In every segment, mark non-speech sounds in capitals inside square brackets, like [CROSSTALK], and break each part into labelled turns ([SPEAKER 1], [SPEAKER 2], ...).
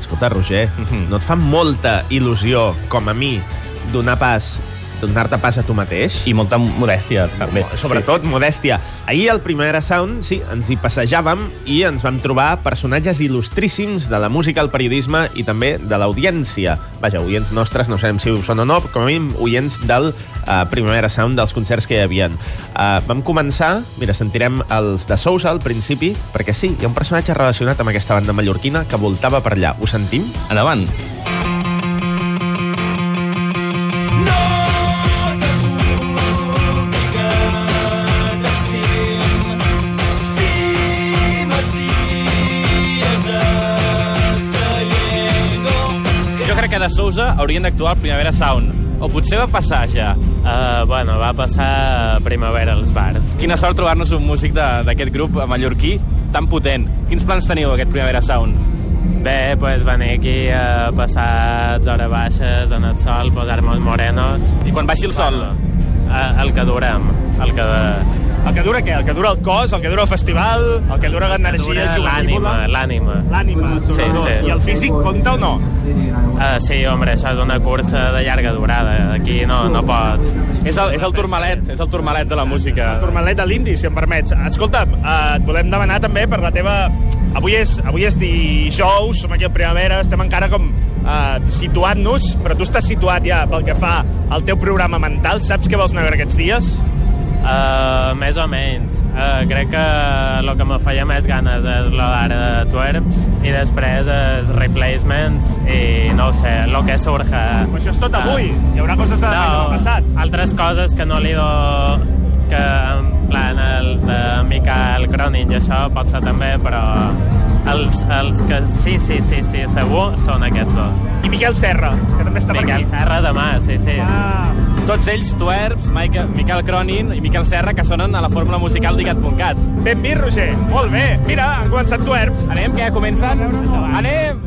[SPEAKER 1] escolta, Roger,
[SPEAKER 2] Mhm.
[SPEAKER 1] no et fa molta il·lusió, com a mi, donar pas donar-te pas a tu mateix?
[SPEAKER 2] I molta modèstia, també.
[SPEAKER 1] Sobretot, modèstia. Ahir al Primera Sound, sí, ens hi passejàvem i ens vam trobar personatges il·lustríssims de la música, el periodisme i també de l'audiència. Vaja, oients nostres, no sabem si ho són o no, però com a mínim oients del uh, Primera Sound, dels concerts que hi havia. Uh, vam començar, mira, sentirem els de Sousa al principi, perquè sí, hi ha un personatge relacionat amb aquesta banda mallorquina que voltava per allà. Ho sentim?
[SPEAKER 2] Sí. Endavant. Jo crec que de Sousa haurien d'actuar al Primavera Sound. O potser va passar ja. Eh,
[SPEAKER 3] Uh, bueno, va passar primavera als bars.
[SPEAKER 2] Quina sort trobar-nos un músic de- d'aquest grup mallorquí tan potent. Quins plans teniu aquest Primavera Sound?
[SPEAKER 3] Bé, pues venir aquí a passar les hores baixes en el sol, posar-me els morenos...
[SPEAKER 2] I quan baixi el sol?
[SPEAKER 3] A- el que durem, el que...
[SPEAKER 4] El que dura què? El que dura el cos, el que dura el festival, el que dura l'energia
[SPEAKER 3] dura
[SPEAKER 4] juvenible...
[SPEAKER 3] L'ànima, l'ànima.
[SPEAKER 4] L'ànima.
[SPEAKER 3] Sí,
[SPEAKER 4] sobretot.
[SPEAKER 3] sí.
[SPEAKER 4] I el físic compta o no?
[SPEAKER 3] Uh, sí, home, això és una cursa de llarga durada. Aquí no, no pots.
[SPEAKER 2] És el, és el turmalet, és el turmalet de la música.
[SPEAKER 4] Turmalet de l'indi, si em permets. Escolta'm, eh, et volem demanar també per la teva... Avui és, avui és dijous, som aquí al Primavera, estem encara com eh, situant-nos, però tu estàs situat ja pel que fa al teu programa mental. Saps què vols anar a veure aquests dies?
[SPEAKER 3] Uh, més o menys. Uh, crec que el que me feia més ganes és la d'ara de Twerps i després els replacements i no ho sé, el que surja.
[SPEAKER 4] Però això és tot avui. Hi haurà coses de demà i demà passat.
[SPEAKER 3] altres coses que no li do que en plan el de Michael Cronin i això pot ser també, però els, els que sí, sí, sí, sí, segur són aquests dos.
[SPEAKER 4] I Miquel Serra, que també està
[SPEAKER 3] Miquel
[SPEAKER 4] per aquí.
[SPEAKER 3] Serra demà, sí, sí.
[SPEAKER 4] Ah,
[SPEAKER 2] Tots ells, Tuerbs, Michael, Miquel Cronin i Miquel Serra, que sonen a la fórmula musical d'Icat.cat.
[SPEAKER 4] ben vist, Roger. Molt bé. Mira, han començat tuerps.
[SPEAKER 2] Anem, que ja comencen? Anem!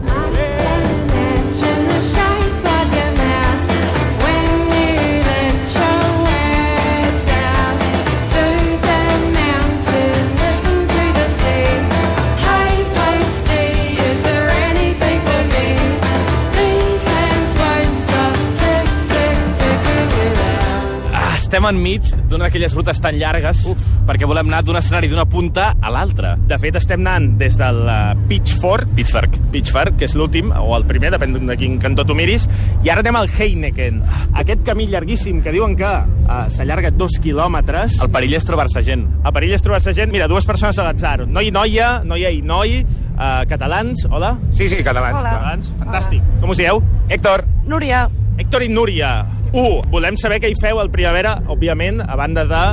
[SPEAKER 2] Ah, Estem enmig d'una d'aquelles rutes tan llargues Uf. perquè volem anar d'un escenari d'una punta a l'altra.
[SPEAKER 4] De fet, estem anant des del eh, Pitchfork,
[SPEAKER 2] Pittsburgh.
[SPEAKER 4] Pitchfork, que és l'últim, o el primer, depèn de quin cantó tu miris, i ara anem al Heineken. Aquest camí llarguíssim que diuen que uh, s'allarga dos quilòmetres.
[SPEAKER 2] El perill és trobar-se gent.
[SPEAKER 4] El perill és trobar-se gent, mira, dues persones a l'atzar. Noi i noia, noia i noi, uh, catalans, hola.
[SPEAKER 5] Sí, sí, catalans.
[SPEAKER 6] Hola.
[SPEAKER 4] Catalans, fantàstic. Com us dieu?
[SPEAKER 5] Héctor,
[SPEAKER 6] Núria,
[SPEAKER 4] Héctor i Núria, 1. Volem saber què hi feu al Primavera, òbviament, a banda de,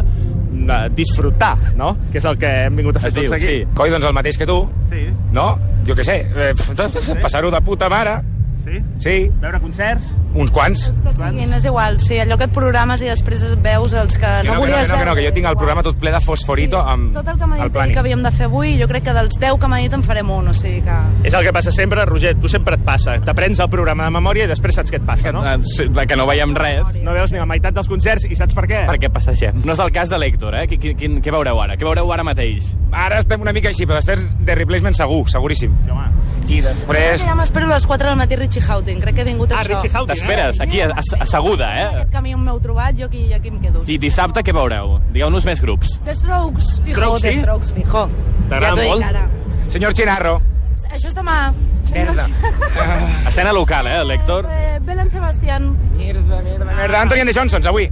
[SPEAKER 4] de disfrutar, no? Que és el que hem vingut a fer
[SPEAKER 2] Es diu,
[SPEAKER 4] tots aquí.
[SPEAKER 2] sí.
[SPEAKER 5] coi, doncs el mateix que tu,
[SPEAKER 4] Sí,
[SPEAKER 5] no? Jo què sé, eh, passar-ho de puta mare.
[SPEAKER 4] sí.
[SPEAKER 5] Sí,
[SPEAKER 4] Veure concerts?
[SPEAKER 5] uns quants.
[SPEAKER 6] és que siguin, és igual, sí, allò que et programes i després veus els que
[SPEAKER 5] Que no,
[SPEAKER 6] no,
[SPEAKER 5] que no,
[SPEAKER 6] volies
[SPEAKER 5] que no, que no, que jo tinc el programa tot ple de fosforito amb
[SPEAKER 6] Tot el que m'ha
[SPEAKER 5] el
[SPEAKER 6] dit ell que havíem de fer avui, jo crec que dels 10 que m'ha dit en farem un, o sigui que...
[SPEAKER 4] És el que passa sempre, Roger, tu sempre et passa. T'aprens el programa de memòria i després saps què et passa, no?
[SPEAKER 2] Eh, sí, Que no veiem res.
[SPEAKER 4] No veus ni la meitat dels concerts i saps per què?
[SPEAKER 2] Perquè passegem. No és el cas de l'Hèctor, eh? Qui- qui- quin- Què veureu ara? Què veureu ara mateix?
[SPEAKER 5] Ara estem una mica així, però després de replacement segur, seguríssim.
[SPEAKER 4] Sí, home.
[SPEAKER 5] I després...
[SPEAKER 6] Ja m'espero a les 4 del matí Richie Houghton, crec que ha vingut
[SPEAKER 4] Ah,
[SPEAKER 6] això.
[SPEAKER 4] Richie Houghton,
[SPEAKER 2] T'esperes, aquí, a- a- asseguda, eh?
[SPEAKER 6] Aquest camí on m'heu trobat, jo aquí, jo aquí em quedo.
[SPEAKER 2] I dissabte què veureu? Digueu-nos més grups.
[SPEAKER 6] The Strokes, fijo,
[SPEAKER 4] Strokes,
[SPEAKER 6] The
[SPEAKER 4] sí?
[SPEAKER 6] Strokes, fijo.
[SPEAKER 4] T'agrada
[SPEAKER 6] t'ho dic
[SPEAKER 4] molt?
[SPEAKER 6] Ara.
[SPEAKER 5] Senyor Chinarro.
[SPEAKER 6] Això és demà. [LAUGHS]
[SPEAKER 5] Merda.
[SPEAKER 2] Escena local, eh, l'Hèctor?
[SPEAKER 6] Eh, Belen Sebastián.
[SPEAKER 5] Merda, Anthony and the Johnsons, avui.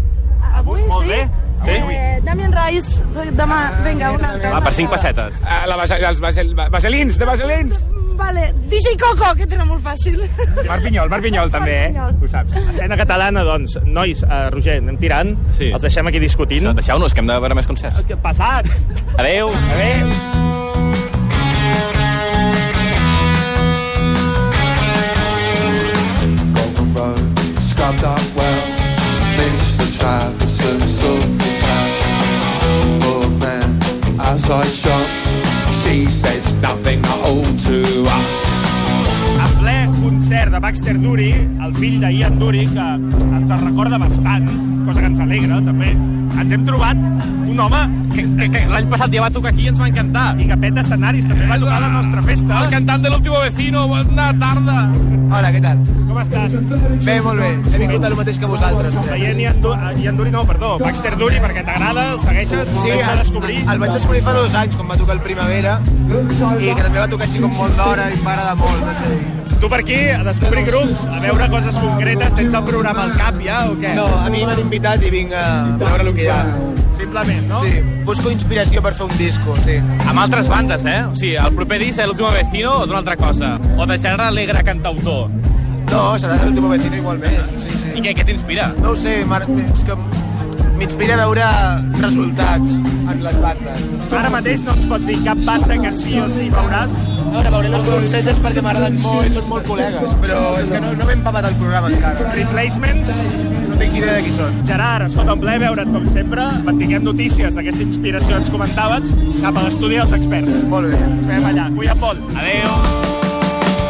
[SPEAKER 6] Avui,
[SPEAKER 4] Molt
[SPEAKER 6] sí.
[SPEAKER 4] bé.
[SPEAKER 2] Sí?
[SPEAKER 6] Eh, Damien Rice, de- demà. Vinga, una altra.
[SPEAKER 2] Va,
[SPEAKER 6] una
[SPEAKER 2] per cinc
[SPEAKER 6] altra.
[SPEAKER 2] pessetes.
[SPEAKER 5] Ah, la base, els base, vaselins, de vaselins.
[SPEAKER 6] Vale, DJ Coco, que tenen molt fàcil. [LAUGHS]
[SPEAKER 5] Marc Pinyol, Marc Pinyol, també, eh? Ho saps.
[SPEAKER 4] Escena catalana, doncs. Nois, eh, Roger, anem tirant.
[SPEAKER 2] Sí.
[SPEAKER 4] Els deixem aquí discutint.
[SPEAKER 2] Això, Deixeu-nos, que hem de veure més concerts.
[SPEAKER 4] Que passats!
[SPEAKER 2] Adeu.
[SPEAKER 5] Adéu.
[SPEAKER 7] on the road, scrubbed up well. Miss the Travis's of the past. Old man, as I shots, she says nothing at all to us.
[SPEAKER 4] A ple concert de Baxter Duri, el fill de Ian Duri, que ens el recorda bastant, cosa que ens alegra, també. ens hem trobat un home
[SPEAKER 2] Que, que, que l'any passat ja va tocar aquí i ens va encantar.
[SPEAKER 4] i que peta escenaris, també va tocar a la nostra festa.
[SPEAKER 2] El cantant de l'último vecino, bona tarda.
[SPEAKER 7] Hola, què tal?
[SPEAKER 4] Com estàs?
[SPEAKER 7] Bé, molt bé. He vingut el mateix que vosaltres.
[SPEAKER 4] Seient i, Andu i Anduri, no, perdó, Baxter Duri, perquè t'agrada, el segueixes, sí,
[SPEAKER 7] Sí,
[SPEAKER 4] el vaig
[SPEAKER 7] el,
[SPEAKER 4] descobrir.
[SPEAKER 7] el vaig descobrir fa dos anys, quan va tocar el Primavera, i que també va tocar així com molt d'hora i m'agrada molt, no sé.
[SPEAKER 4] Tu per aquí, a descobrir grups, a veure coses concretes, tens el programa al cap ja o què?
[SPEAKER 7] No, a mi m'han invitat i vinc a veure el que hi ha.
[SPEAKER 4] Simplement, no?
[SPEAKER 7] Sí, busco inspiració per fer un disco, sí.
[SPEAKER 2] Amb altres bandes, eh? O sigui, el proper disc de l'último vecino o d'una altra cosa. O de gènere alegre cantautor.
[SPEAKER 7] No, serà de l'último vecino igualment. Sí,
[SPEAKER 2] I
[SPEAKER 7] sí.
[SPEAKER 2] què, què t'inspira?
[SPEAKER 7] No ho sé, mar... és que m'inspira a veure resultats en les bandes.
[SPEAKER 4] Ara mateix no ens pots dir cap banda que sí o sí veuràs.
[SPEAKER 7] A veure, veuré les concertes perquè m'agraden molt, són molt col·legues, però és que no, no m'he empapat el programa encara.
[SPEAKER 4] Replacements,
[SPEAKER 7] No tinc idea de qui són.
[SPEAKER 4] Gerard, escolta, un plaer veure't com sempre. Mantinguem notícies d'aquesta inspiració que ens comentaves cap a l'estudi dels experts.
[SPEAKER 7] Molt bé.
[SPEAKER 4] Ens veiem allà. Cuida molt.
[SPEAKER 2] Adeu.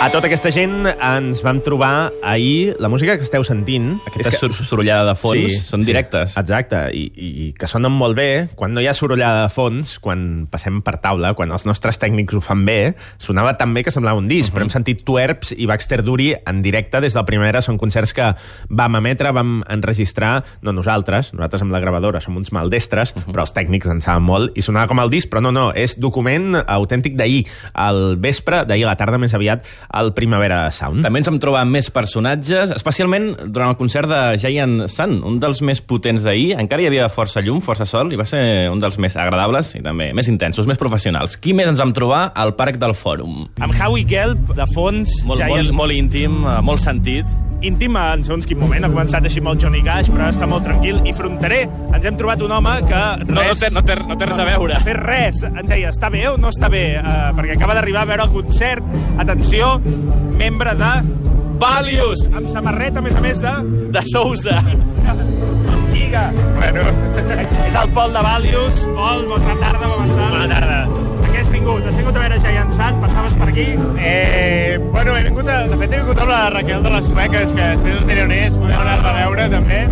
[SPEAKER 1] A tota aquesta gent ens vam trobar ahir la música que esteu sentint.
[SPEAKER 8] Aquesta
[SPEAKER 1] és que-
[SPEAKER 8] que... sorollada de fons sí, són directes.
[SPEAKER 1] Sí, exacte, i, i, i que sonen molt bé. Quan no hi ha sorollada de fons, quan passem per taula, quan els nostres tècnics ho fan bé, sonava tan bé que semblava un disc, uh -huh. però
[SPEAKER 8] Mhm.
[SPEAKER 1] hem sentit Twerps i Baxter Duri en directe des del primer era. Són concerts que vam emetre, vam enregistrar, no nosaltres, nosaltres amb la gravadora som uns maldestres,
[SPEAKER 8] Mhm.
[SPEAKER 1] uh -huh. però els tècnics en saben molt, i sonava com el disc, però no, no, és document autèntic d'ahir, al vespre, d'ahir a la tarda més aviat, al Primavera Sound.
[SPEAKER 8] També ens vam trobar més personatges, especialment durant el concert de Giant Sun, un dels més potents d'ahir. Encara hi havia força llum, força sol, i va ser un dels més agradables i també més intensos, més professionals. Qui més ens vam trobar? Al Parc del Fòrum.
[SPEAKER 4] Amb Howie Gelb, de fons,
[SPEAKER 2] Molt, molt, molt íntim, eh, molt sentit.
[SPEAKER 4] íntim en segons quin moment. Ha començat així amb el Johnny Cash, però ara està molt tranquil. I fronterer, ens hem trobat un home que res...
[SPEAKER 2] No, no, té, no, té, no té res a veure.
[SPEAKER 4] Ha fet res. Ens deia, està bé o no està bé? Uh, perquè acaba d'arribar a veure el concert. Atenció, membre de... Valius! Amb samarreta, a més a més, de...
[SPEAKER 2] De Sousa.
[SPEAKER 4] Lliga. Bueno. És el Pol de Valius. Pol, bona tarda, com estàs? Bona tarda. A què has vingut? Has vingut a veure Giant Sun? Passaves per aquí?
[SPEAKER 5] Eh, bueno, he vingut a, de fet he vingut amb la Raquel de les Sueques, que després us diré on és, podeu anar-la a veure també.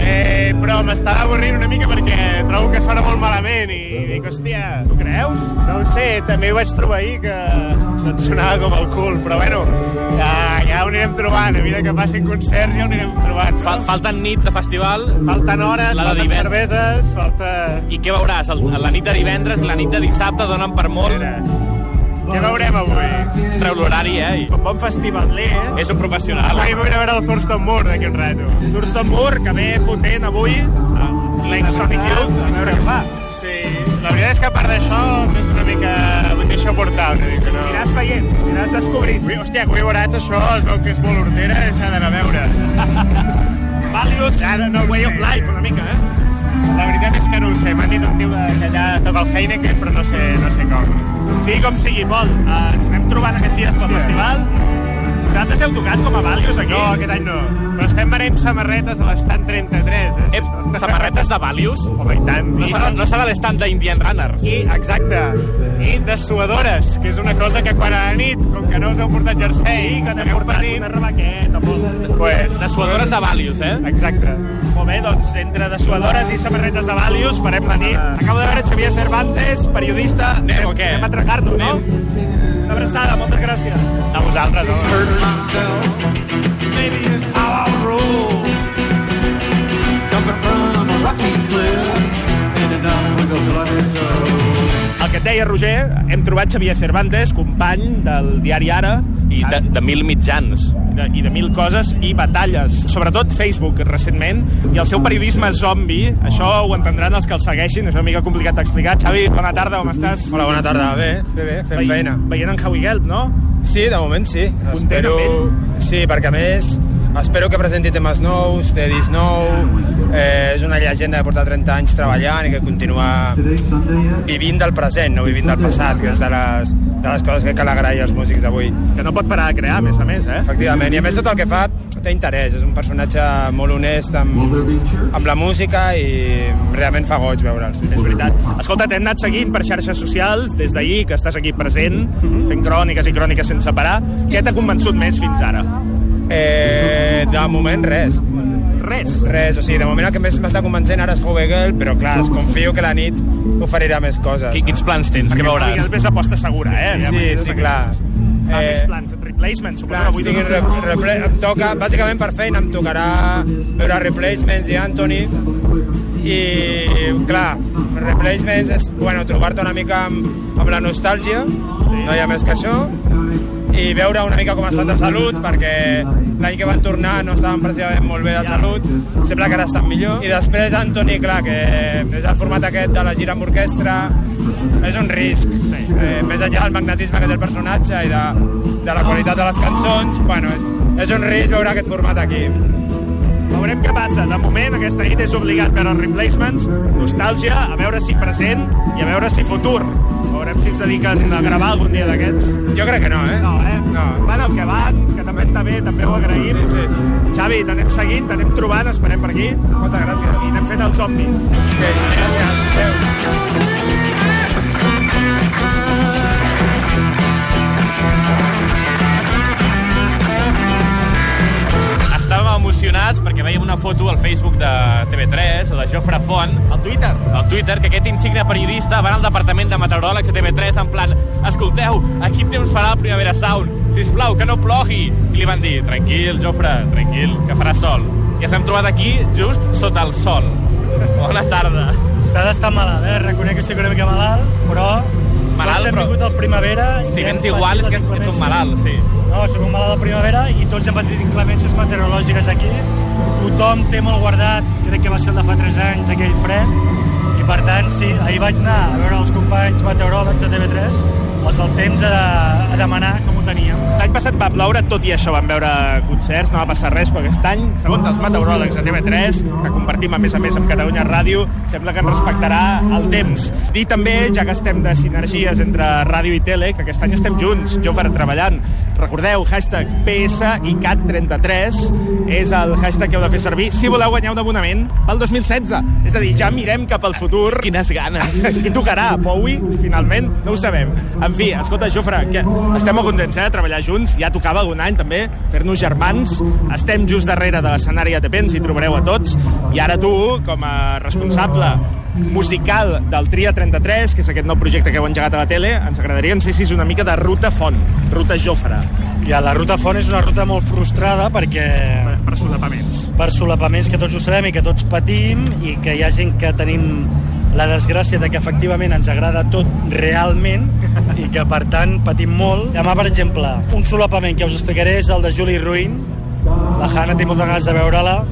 [SPEAKER 5] Eh, però m'estava avorrint una mica perquè trobo que sona molt malament i dic, hòstia, tu creus? No ho sé, també ho vaig trobar ahir que no et sonava com el cul, però bueno, ja, ja ho anirem trobant, a mesura que passin concerts ja ho anirem trobant. No?
[SPEAKER 2] Fal, falten nits de festival.
[SPEAKER 5] Falten hores,
[SPEAKER 2] La de
[SPEAKER 5] falten
[SPEAKER 2] divendres.
[SPEAKER 5] cerveses, falta...
[SPEAKER 2] I què veuràs? El, la nit de divendres, la nit de dissabte donen per molt.
[SPEAKER 5] Què veurem avui?
[SPEAKER 2] Es treu l'horari, eh? I
[SPEAKER 4] Un bon festival, eh?
[SPEAKER 2] és un professional.
[SPEAKER 5] Avui vull veure el Thurston Moore d'aquí un rato. Ah,
[SPEAKER 4] Thurston Moore, que ve potent avui, l'ex Sonic Youth, a veure què fa.
[SPEAKER 5] Sí, la veritat és que a part d'això doncs, és una mica... Em deixa portar una mica, no?
[SPEAKER 4] Aniràs veient, aniràs descobrint.
[SPEAKER 5] Ui, hòstia, que ho he veurat, això es veu que és molt hortera i s'ha d'anar a veure.
[SPEAKER 4] Valius,
[SPEAKER 5] Ara no ho
[SPEAKER 4] Way
[SPEAKER 5] sé.
[SPEAKER 4] of Life, una mica, eh?
[SPEAKER 5] La veritat és que no ho sé, m'han dit un tio de- que allà toca el Heineken, però no sé, no sé com.
[SPEAKER 4] Sigui com sigui, Pol, eh, ens anem trobant aquests dies pel
[SPEAKER 5] Sí.
[SPEAKER 4] festival. Vosaltres heu tocat com a Valius aquí?
[SPEAKER 5] No, aquest any no. Però estem venent samarretes a l'estant 33, eh?
[SPEAKER 2] Ep, samarretes de Valius?
[SPEAKER 5] Home, i tant.
[SPEAKER 2] No serà, no serà l'estand d'Indian Runners.
[SPEAKER 5] I, exacte, i dessuadores, que és una cosa que quan a la nit, com que no us heu portat jersei,
[SPEAKER 4] Que n'hem portat una rebaqueta, Pol.
[SPEAKER 5] pues,
[SPEAKER 2] Dessuadores de Valius, eh?
[SPEAKER 5] exacte.
[SPEAKER 4] Molt bé, doncs, entre dessuadores i samarretes de Valius farem la nit. Acabo de veure Xavier Cervantes, periodista.
[SPEAKER 2] Anem o què?
[SPEAKER 4] Anem a atracar-nos, no? Una abraçada, moltes gràcies.
[SPEAKER 2] A vosaltres, home.
[SPEAKER 9] hurt myself. Maybe it's how I roll. Jumping from a rocky cliff, ended up with a bloody toe.
[SPEAKER 4] El que et deia, Roger, hem trobat Xavier Cervantes, company del diari Ara,
[SPEAKER 2] I de, de mil mitjans.
[SPEAKER 4] i de, i de mil coses, i batalles, sobretot Facebook, recentment, i el seu periodisme zombi, això ho entendran els que el segueixin, és una mica complicat d'explicar. Xavi, bona tarda, com estàs?
[SPEAKER 7] Hola, bona tarda. Bé, bé, bé, fent feina.
[SPEAKER 4] Veient en Howie Gelb, no?
[SPEAKER 7] Sí, de moment sí. Espero...
[SPEAKER 4] ell?
[SPEAKER 7] Sí, perquè a més espero que presenti temes nous, té disc nou, eh, és una llegenda que porta 30 anys treballant i que continua vivint del present, no vivint del passat, que és de les, de les coses que cal agrair als músics d'avui.
[SPEAKER 4] Que no pot parar de crear, a més a més, eh?
[SPEAKER 7] Efectivament, i a més tot el que fa té interès, és un personatge molt honest amb, amb la música i realment fa goig veure'ls.
[SPEAKER 4] És veritat. Escolta, t'hem anat seguint per xarxes socials des d'ahir, que estàs aquí present,
[SPEAKER 7] Mhm.
[SPEAKER 4] fent cròniques i cròniques sense parar. Què t'ha convençut més fins ara?
[SPEAKER 7] Eh, de moment res.
[SPEAKER 4] res.
[SPEAKER 7] Res, o sigui, de moment el que més m'està convencent ara és Howegel, però clar, es confio que la nit oferirà més coses.
[SPEAKER 2] Qui- Quins plans tens? Què
[SPEAKER 4] Miguel
[SPEAKER 2] veuràs?
[SPEAKER 4] més aposta segura, eh?
[SPEAKER 7] Sí,
[SPEAKER 4] Ja
[SPEAKER 7] sí,
[SPEAKER 4] m'he dit
[SPEAKER 7] sí,
[SPEAKER 4] que-
[SPEAKER 7] clar.
[SPEAKER 4] Ah, més
[SPEAKER 7] Eh,
[SPEAKER 4] plans. Replacement,
[SPEAKER 7] Clar,
[SPEAKER 4] suposo que avui...
[SPEAKER 7] estic re, repre, em toca, bàsicament per feina, em tocarà veure Replacements i Anthony i, clar, Replacements és, bueno, trobar-te una mica amb, amb la nostàlgia, no hi ha més que això, i veure una mica com estan de salut, perquè l'any que van tornar no estaven precisament molt bé de salut, sembla que ara estan millor. I després Anthony, clar, que és el format aquest de la gira amb orquestra, és un risc. Eh, més enllà del magnetisme que té el personatge i de, de la qualitat de les cançons, bueno, és, és un risc veure aquest format aquí.
[SPEAKER 4] Veurem què passa. De moment, aquesta nit és obligat per als replacements, nostàlgia, a veure si present i a veure si futur. Veurem si es dediquen a gravar algun dia d'aquests.
[SPEAKER 7] Jo crec que no, eh?
[SPEAKER 4] No, eh?
[SPEAKER 7] No.
[SPEAKER 4] Van el que van, que també està bé, també ho agraïm.
[SPEAKER 7] Sí, sí.
[SPEAKER 4] Xavi, t'anem seguint, t'anem trobant, esperem per aquí.
[SPEAKER 7] Moltes gràcies.
[SPEAKER 4] I anem fent el somni.
[SPEAKER 7] Okay, gràcies. Adéu.
[SPEAKER 2] Estàvem emocionats perquè veiem una foto al Facebook de TV3 o de Jofre Font,
[SPEAKER 4] Al Twitter.
[SPEAKER 2] al Twitter, que aquest insigne periodista va anar al departament de meteoròlegs de TV3 en plan escolteu, a quin temps farà el Primavera Sound? Sisplau, que no plogui! I li van dir, tranquil, Jofre, tranquil, que farà sol. I ens hem trobat aquí just sota el sol. Bona tarda.
[SPEAKER 10] S'ha d'estar malalt, eh? Reconec que estic una mica malalt, però...
[SPEAKER 2] Malalt,
[SPEAKER 10] tots hem
[SPEAKER 2] però-
[SPEAKER 10] vingut al primavera... i
[SPEAKER 2] Si
[SPEAKER 10] hem
[SPEAKER 2] vens
[SPEAKER 10] patit
[SPEAKER 2] igual és
[SPEAKER 10] les
[SPEAKER 2] que ets un
[SPEAKER 10] inclemències.
[SPEAKER 2] malalt, sí.
[SPEAKER 10] No, soc un malalt de primavera i tots hem patit inclemències meteorològiques aquí. Tothom té molt guardat, crec que va ser el de fa 3 anys, aquell fred. I per tant, sí, ahir vaig anar a veure els companys meteoròlegs de TV3, els del temps a, a demanar com ho teníem.
[SPEAKER 4] L'any passat va ploure, tot i això vam veure concerts, no va passar res, però aquest any, segons els meteoròlegs de TV3, que compartim a més a més amb Catalunya Ràdio, sembla que ens respectarà el temps. Dir també, ja que estem de sinergies entre ràdio i tele, que aquest any estem junts, jo per treballant. Recordeu, hashtag PS i CAT33 és el hashtag que heu de fer servir si voleu guanyar un abonament pel 2016. És a dir, ja mirem cap al futur.
[SPEAKER 2] Quines ganes.
[SPEAKER 4] [LAUGHS] Qui tocarà? Bowie? Finalment? No ho sabem. En fi, escolta, Jofre, que estem molt contents eh, de treballar junts. Ja tocava algun any, també, fer-nos germans. Estem just darrere de l'escenari ATP, ens hi trobareu a tots. I ara tu, com a responsable musical del Tria 33, que és aquest nou projecte que heu engegat a la tele, ens agradaria que ens fessis una mica de ruta font, ruta Jofre,
[SPEAKER 10] Ja, la ruta font és una ruta molt frustrada perquè
[SPEAKER 4] per, per solapaments.
[SPEAKER 10] per solapaments que tots ho sabem i que tots patim i que hi ha gent que tenim la desgràcia de que efectivament ens agrada tot realment i que per tant patim molt. Demà, per exemple, un solapament que us explicaré és el de Juli Ruin. La Hanna té moltes ganes de veure-la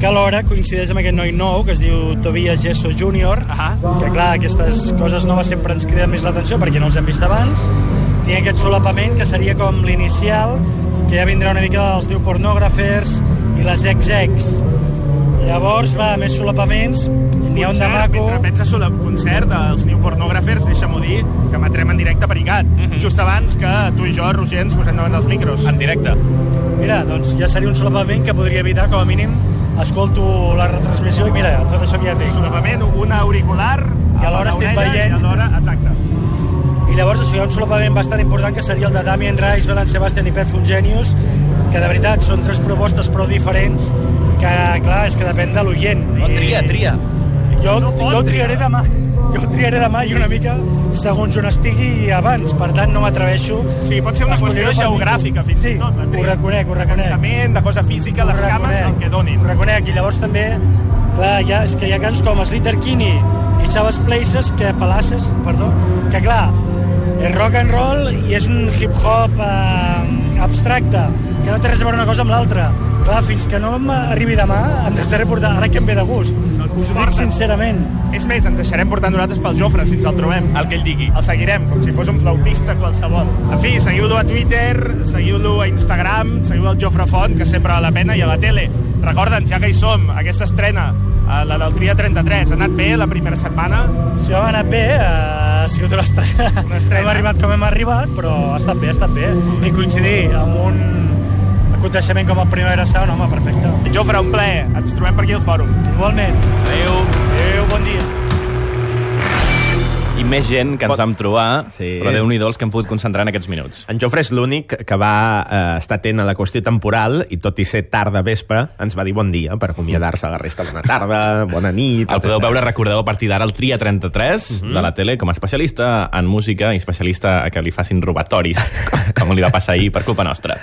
[SPEAKER 10] que alhora coincideix amb aquest noi nou que es diu Tobias Gesso Jr. Ah. que clar, aquestes coses noves sempre ens criden més l'atenció perquè no els hem vist abans tinc aquest solapament que seria com l'inicial que ja vindrà una mica dels diu pornògrafers i les ex-ex llavors va, més solapaments n'hi ha un de
[SPEAKER 4] Concert,
[SPEAKER 10] maco
[SPEAKER 4] Mentre penses sobre el concert dels New Pornographers, deixa'm-ho dir, que emetrem en directe per ICAT,
[SPEAKER 10] Mhm.
[SPEAKER 4] just abans que tu i jo, Roger, ens posem davant dels micros.
[SPEAKER 2] En directe.
[SPEAKER 10] mira, doncs ja seria un solapament que podria evitar com a mínim escolto la retransmissió i mira, tot això que ja tinc
[SPEAKER 4] solapament, un auricular...
[SPEAKER 10] I alhora
[SPEAKER 4] a
[SPEAKER 10] estic
[SPEAKER 4] l'orella
[SPEAKER 10] veient-
[SPEAKER 4] I alhora, exacte.
[SPEAKER 10] I llavors això hi ha un solapament bastant important que seria el de Damien Rice, Belan Sebastian i Pet Fungenius, que de veritat són tres propostes prou diferents que, clar, és que depèn de l'oient.
[SPEAKER 2] No, tria, tria.
[SPEAKER 10] Jo,
[SPEAKER 4] No pot
[SPEAKER 10] jo ho triaré
[SPEAKER 4] triar.
[SPEAKER 10] demà. Jo ho triaré demà i una mica segons on estigui i abans. Per tant, no m'atreveixo.
[SPEAKER 4] O sigui, pot ser una
[SPEAKER 10] a
[SPEAKER 4] qüestió
[SPEAKER 10] escollir-ho per
[SPEAKER 4] geogràfica,
[SPEAKER 10] mi.
[SPEAKER 4] fins
[SPEAKER 10] Sí,
[SPEAKER 4] i tot. la
[SPEAKER 10] ho
[SPEAKER 4] tria.
[SPEAKER 10] reconec, ho
[SPEAKER 4] De
[SPEAKER 10] reconec.
[SPEAKER 4] Cansament, de cosa física, les
[SPEAKER 10] Ho
[SPEAKER 4] cames, el que donin.
[SPEAKER 10] Ho reconec, i llavors també, clar, ja, és que hi ha casos com Slater Kinney i Chavez Places, que Palaces, perdó, que clar, és rock and roll i és un hip-hop eh, abstracte, que no té res a veure una cosa amb l'altra. Clar, fins que no m'arribi demà, em deixaré portar, ara que em ve de gust.
[SPEAKER 4] et
[SPEAKER 10] Us ho dic
[SPEAKER 4] porta.
[SPEAKER 10] sincerament.
[SPEAKER 4] És més, ens deixarem portar nosaltres pel Jofre, si ens el trobem.
[SPEAKER 2] El que ell digui.
[SPEAKER 4] El seguirem, com si fos un flautista qualsevol. En fi, seguiu-lo a Twitter, seguiu-lo a Instagram, seguiu el Jofre Font, que sempre val la pena, i a la tele. Recorda'ns, ja que hi som, aquesta estrena, eh, la del Tria 33, ha anat bé la primera setmana?
[SPEAKER 10] Si vam anar bé, eh, ha sigut una estrena.
[SPEAKER 4] Una estrena.
[SPEAKER 10] [LAUGHS] Hem arribat com hem arribat, però ha estat bé, ha estat bé. I coincidir amb un aconteixement com el Primavera Sound, home, perfecte.
[SPEAKER 4] Jofre, un plaer. Ens trobem per aquí al fòrum.
[SPEAKER 10] Igualment.
[SPEAKER 2] Adéu.
[SPEAKER 10] Adéu, bon dia.
[SPEAKER 1] i més gent que ens vam trobar,
[SPEAKER 11] Sí.
[SPEAKER 1] sí. però déu nhi els que hem pogut concentrar en aquests minuts.
[SPEAKER 11] En Jofre és l'únic que va eh, estar atent a la qüestió temporal i, tot i ser tard de vespre, ens va dir bon dia per acomiadar-se a la resta. Bona tarda, bona nit...
[SPEAKER 1] El podeu
[SPEAKER 11] etcètera. Mhm.
[SPEAKER 1] veure, recordeu, a partir d'ara al Tria 33 de la tele com a [LAUGHS] especialista en música i especialista a que li facin robatoris, com li va passar ahir per culpa nostra.